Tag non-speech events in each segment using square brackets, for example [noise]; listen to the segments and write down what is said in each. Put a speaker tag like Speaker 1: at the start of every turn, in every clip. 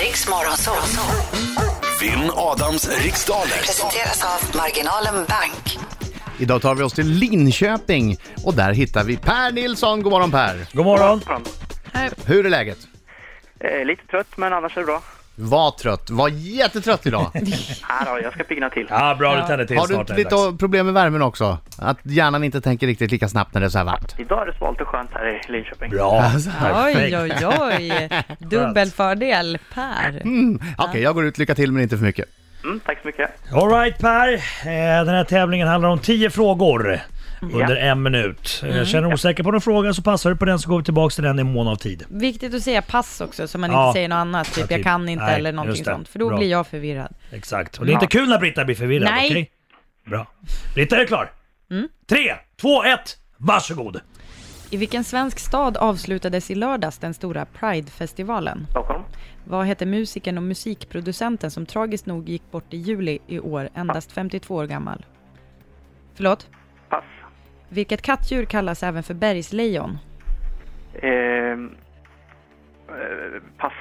Speaker 1: Riks Morgonzoo.
Speaker 2: Vinn Adams riksdaler.
Speaker 1: Presenteras av Marginalen Bank.
Speaker 3: Idag tar vi oss till Linköping och där hittar vi Per Nilsson. God morgon Per!
Speaker 4: God morgon!
Speaker 5: Fram.
Speaker 3: Hur är läget?
Speaker 5: Eh, lite trött, men annars är det bra.
Speaker 3: Var trött, var jättetrött
Speaker 4: [laughs]
Speaker 3: idag.
Speaker 5: Nej då, jag ska pigna till.
Speaker 4: Ja, bra du tände till
Speaker 3: Har
Speaker 4: snart.
Speaker 3: du
Speaker 4: är
Speaker 3: lite
Speaker 4: det dags.
Speaker 3: problem med värmen också? Att hjärnan inte tänker riktigt lika snabbt när det är så här varmt?
Speaker 5: Idag är det svalt och skönt här i Linköping.
Speaker 4: Bra!
Speaker 6: Oj,
Speaker 4: Perfekt!
Speaker 6: oj,
Speaker 4: [laughs]
Speaker 6: oj. Dubbel fördel, Per.
Speaker 4: Mm.
Speaker 3: Okej, jag går ut. Lycka till men inte för mycket.
Speaker 5: Mm, tack så mycket.
Speaker 4: Alright Per, Eh, den här tävlingen handlar om 10 frågor under en minut.
Speaker 6: Mm.
Speaker 4: Eh, Känner du osäker på någon fråga så passar du på den så går vi tillbaka till den i mån av tid.
Speaker 6: Viktigt att säga pass också, så man
Speaker 4: Ja.
Speaker 6: inte säger något annat. Typ,
Speaker 4: Ja,
Speaker 6: jag
Speaker 4: typ.
Speaker 6: kan inte
Speaker 4: Nej,
Speaker 6: eller
Speaker 4: just
Speaker 6: någonting
Speaker 4: det.
Speaker 6: sånt. För då
Speaker 4: Bra.
Speaker 6: blir jag förvirrad.
Speaker 4: Exakt. Och det är inte kul när Britta blir förvirrad,
Speaker 6: Nej. Mm.
Speaker 4: okej? Bra. Britta, är du klar? Tre, två, ett, varsågod!
Speaker 6: I vilken svensk stad avslutades i lördags den stora Pride-festivalen?
Speaker 5: Stockholm.
Speaker 6: Vad hette musikern och musikproducenten som tragiskt nog gick bort i juli i år, endast 52 år gammal? Förlåt?
Speaker 5: Pass.
Speaker 6: Vilket kattdjur kallas även för bergslejon?
Speaker 5: Ehm, eh, pass.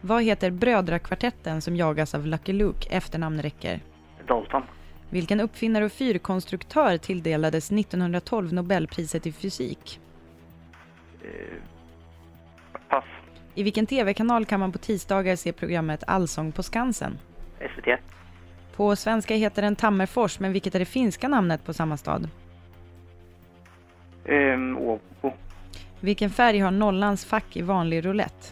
Speaker 6: Vad heter brödrakvartetten som jagas av Lucky Luke? Efternamn räcker.
Speaker 5: Dalton.
Speaker 6: Vilken uppfinnare och fyrkonstruktör tilldelades 1912 Nobelpriset i fysik?
Speaker 5: Pass.
Speaker 6: I vilken tv-kanal kan man på tisdagar se programmet Allsång på Skansen?
Speaker 5: SVT.
Speaker 6: På svenska heter den Tammerfors, men vilket är det finska namnet på samma stad?
Speaker 5: Ehm, Åbo.
Speaker 6: Vilken färg har nollans fack i vanlig roulette?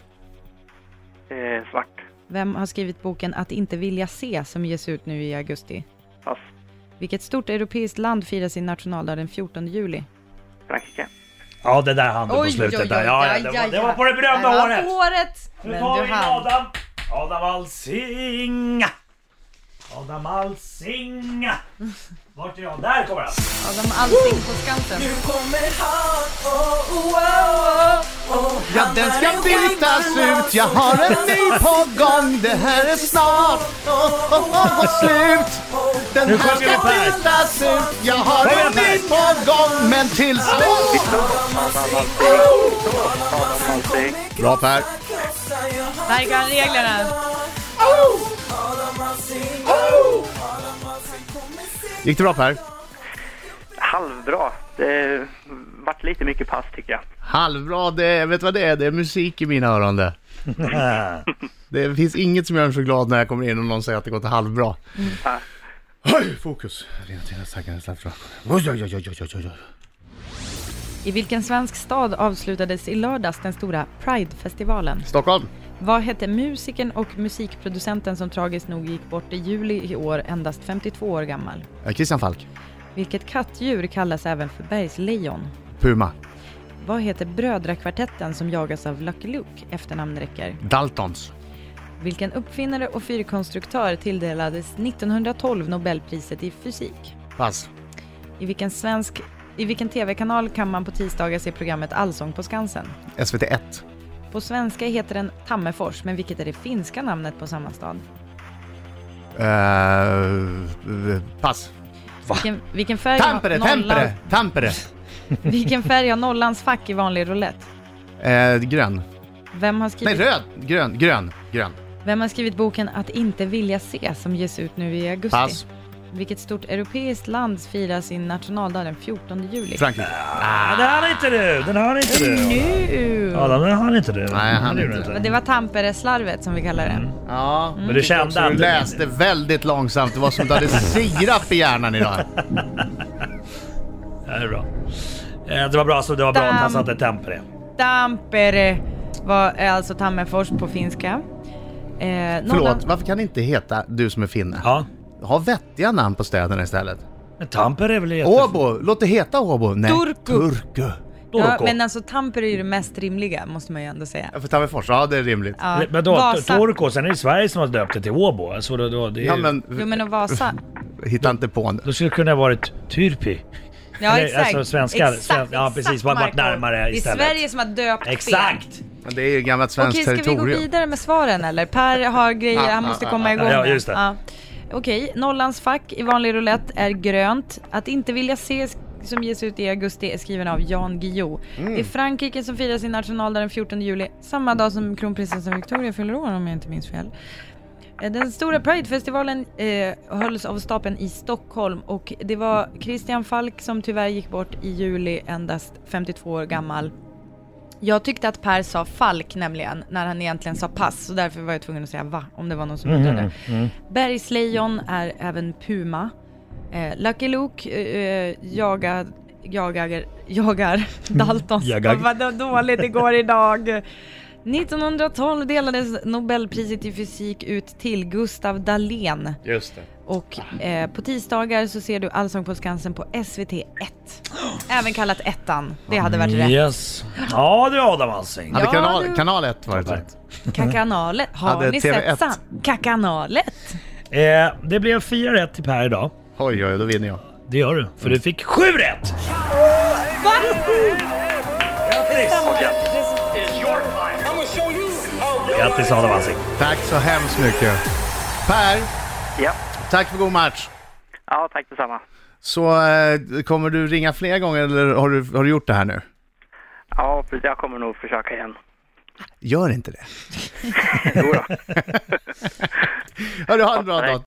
Speaker 5: Eh, svart.
Speaker 6: Vem har skrivit boken Att inte vilja se som ges ut nu i augusti?
Speaker 5: Pass.
Speaker 6: Vilket stort europeiskt land firar sin nationaldag den 14 juli?
Speaker 5: Frankrike.
Speaker 4: Ja, det där hann du på
Speaker 6: Oj,
Speaker 4: slutet
Speaker 6: oj, oj,
Speaker 4: där. Ja, ja,
Speaker 6: ja,
Speaker 4: det,
Speaker 6: ja,
Speaker 4: var, det
Speaker 6: ja.
Speaker 4: var på det berömda
Speaker 6: Det var
Speaker 4: håret!
Speaker 6: på håret!
Speaker 4: Nu
Speaker 6: Men
Speaker 4: tar
Speaker 6: du
Speaker 4: vi in
Speaker 6: hann.
Speaker 4: Adam! Adam Alsing! Adam Alsing! Vart är jag? Där kommer han!
Speaker 6: Adam Alsing på Skansen.
Speaker 3: Ja, den ska bytas ut. Jag har en ny på gång. Det här är snart oh, oh, oh, slut. Den
Speaker 4: Nu
Speaker 3: här
Speaker 4: sjunger vi
Speaker 3: ska
Speaker 4: Per.
Speaker 3: bytas ut. Jag har
Speaker 4: Kom igen,
Speaker 3: en ny
Speaker 4: Per.
Speaker 3: på gång. Men till slut.
Speaker 5: Allting.
Speaker 3: Bra Per.
Speaker 6: Där kan reglerna.
Speaker 3: Gick det bra Per?
Speaker 5: Halvbra. Det vart lite mycket pass tycker jag.
Speaker 3: Halvbra, det är, vet du vad det är? Det är musik i mina öron det. Det finns inget som gör mig så glad när jag kommer in och någon säger att det går till halvbra.
Speaker 5: Ja.
Speaker 3: Höj, fokus! Rena, rena, sagga, slapp, slapp. Oj, oj, oj, oj, oj, oj, oj.
Speaker 6: I vilken svensk stad avslutades i lördags den stora Pride-festivalen?
Speaker 3: Stockholm,
Speaker 6: Vad hette musikern och musikproducenten som tragiskt nog gick bort i juli i år, endast 52 år gammal?
Speaker 3: Eh, Christian Falk,
Speaker 6: Vilket kattdjur kallas även för bergslejon?
Speaker 3: Puma,
Speaker 6: Vad heter brödrakvartetten som jagas av Lucky Luke? Efternamn räcker.
Speaker 3: Daltons,
Speaker 6: Vilken uppfinnare och fyrkonstruktör tilldelades 1912 Nobelpriset i fysik?
Speaker 3: pass.
Speaker 6: I vilken svensk... I vilken tv-kanal kan man på tisdagar se programmet Allsång på Skansen?
Speaker 3: SVT 1,
Speaker 6: På svenska heter den Tammerfors, men vilket är det finska namnet på samma stad?
Speaker 3: Eh, eh, pass.
Speaker 6: Vilken, vilken, färg
Speaker 3: Tampere,
Speaker 6: har nollan,
Speaker 3: Tampere, Tampere.
Speaker 6: [laughs] vilken färg har nollans fack i vanlig roulette?
Speaker 3: Eh, grön.
Speaker 6: Vem har,
Speaker 3: Nej,
Speaker 6: skrivit,
Speaker 3: röd. Grön, grön, grön.
Speaker 6: vem har skrivit boken Att inte vilja se som ges ut nu i augusti?
Speaker 3: Pass.
Speaker 6: Vilket stort europeiskt land firar sin nationaldag den 14 juli?
Speaker 3: Frankrike.
Speaker 4: Ja, den Ah, hann inte du! Den hann inte du!
Speaker 6: Nu!
Speaker 4: Adam, den hann inte du.
Speaker 3: Nej, jag hann
Speaker 4: Det gjorde
Speaker 3: inte.
Speaker 4: du
Speaker 6: Det var Tampere-slarvet som vi kallar det.
Speaker 3: Mm. Ja.
Speaker 6: Mm.
Speaker 4: Men du kände
Speaker 3: Du
Speaker 4: att...
Speaker 3: läste väldigt långsamt. Det var som att du hade sirap i hjärnan idag.
Speaker 4: Ja, det är bra. Eh, Det var bra, så det var bra att han
Speaker 6: Dam.
Speaker 4: satte temp på det.
Speaker 6: Tampere var, är alltså Tammerfors på finska. Eh,
Speaker 3: Förlåt,
Speaker 6: Norrland-
Speaker 3: varför kan det inte heta du som är finne?
Speaker 4: Ja.
Speaker 3: Ha vettiga namn på städerna istället.
Speaker 4: Men Tamper är väl jätte...
Speaker 3: Åbo, låt det heta Åbo. Nej,
Speaker 6: Turku.
Speaker 3: Turku.
Speaker 6: Ja,
Speaker 4: Turku.
Speaker 6: men alltså Tampere är ju det mest rimliga måste man ju ändå säga.
Speaker 3: Ja, För Tammerfors, ja det är rimligt. Ja,
Speaker 6: Ja.
Speaker 4: Men då,
Speaker 6: Vasa.
Speaker 4: Turku, sen är det Sverige som har döpt det till Åbo. Alltså, då, då, det är,
Speaker 3: men,
Speaker 6: Jo men och Vasa.
Speaker 3: hitta inte på nu.
Speaker 4: då skulle det kunna ha varit Tyrpi.
Speaker 6: Ja
Speaker 4: Eller,
Speaker 6: exakt.
Speaker 4: alltså, svenskar.
Speaker 6: exakt,
Speaker 4: Sven- ja,
Speaker 6: exakt,
Speaker 4: precis, man har varit
Speaker 6: Marco.
Speaker 4: närmare istället.
Speaker 6: Det är Sverige som har döpt fel.
Speaker 4: Exakt!
Speaker 3: Men det är ju gammalt svenskt
Speaker 6: Okej, ska vi gå
Speaker 3: territorium.
Speaker 6: vidare med svaren eller? Per har grejer han måste komma igång
Speaker 4: Ja,
Speaker 6: med.
Speaker 4: just det.
Speaker 6: Okej, Nollans fack i vanlig roulette är grönt. Att inte vilja se som ges ut i augusti är skriven av Jan Guillou.
Speaker 3: Mm.
Speaker 6: Det är Frankrike som firar sin nationaldag den 14 juli, samma dag som kronprinsessan Victoria fyller år om jag inte minns fel. Eh, Den stora Pridefestivalen eh, hölls av stapeln i Stockholm och det var Christian Falk som tyvärr gick bort i juli, endast 52 år gammal. Jag tyckte att Per sa Falk nämligen, när han egentligen sa pass, så därför var jag tvungen att säga va, om det var någon som undrade. Bergslejon är även puma. Eh, Lucky Luke eh, jagar, jagar, jagar Daltons.
Speaker 4: Jagar.
Speaker 6: Vad det var dåligt igår idag. 1912 delades Nobelpriset i fysik ut till Gustav Dalén
Speaker 7: Just det.
Speaker 6: och eh, på tisdagar så ser du Allsång på Skansen på SVT 1. Även kallat ettan. Det hade varit rätt.
Speaker 4: Yes. Ja du Adam Alsing.
Speaker 3: Hade
Speaker 6: Ja,
Speaker 3: kanal,
Speaker 6: du-
Speaker 3: kanal 1 varit rätt.
Speaker 4: Rätt.
Speaker 6: Kakanalet. Har
Speaker 3: Hade
Speaker 6: ni
Speaker 3: TV1?
Speaker 6: sett san- Kakanalet?
Speaker 4: Eh, det blev fyra rätt till Per idag.
Speaker 3: Oj, oj, då vinner jag.
Speaker 4: Det gör du, för du fick sju rätt! Grattis Adam Alsing.
Speaker 3: Tack så hemskt mycket. Per,
Speaker 5: Ja,
Speaker 3: tack för god match.
Speaker 5: ja tack detsamma.
Speaker 3: Så eh, kommer du ringa fler gånger eller har du, har du gjort det här nu?
Speaker 5: Ja, precis. Jag kommer nog försöka igen.
Speaker 3: Gör inte det.
Speaker 5: [laughs] Jo då.
Speaker 3: [laughs] Hörru, ha en bra dag.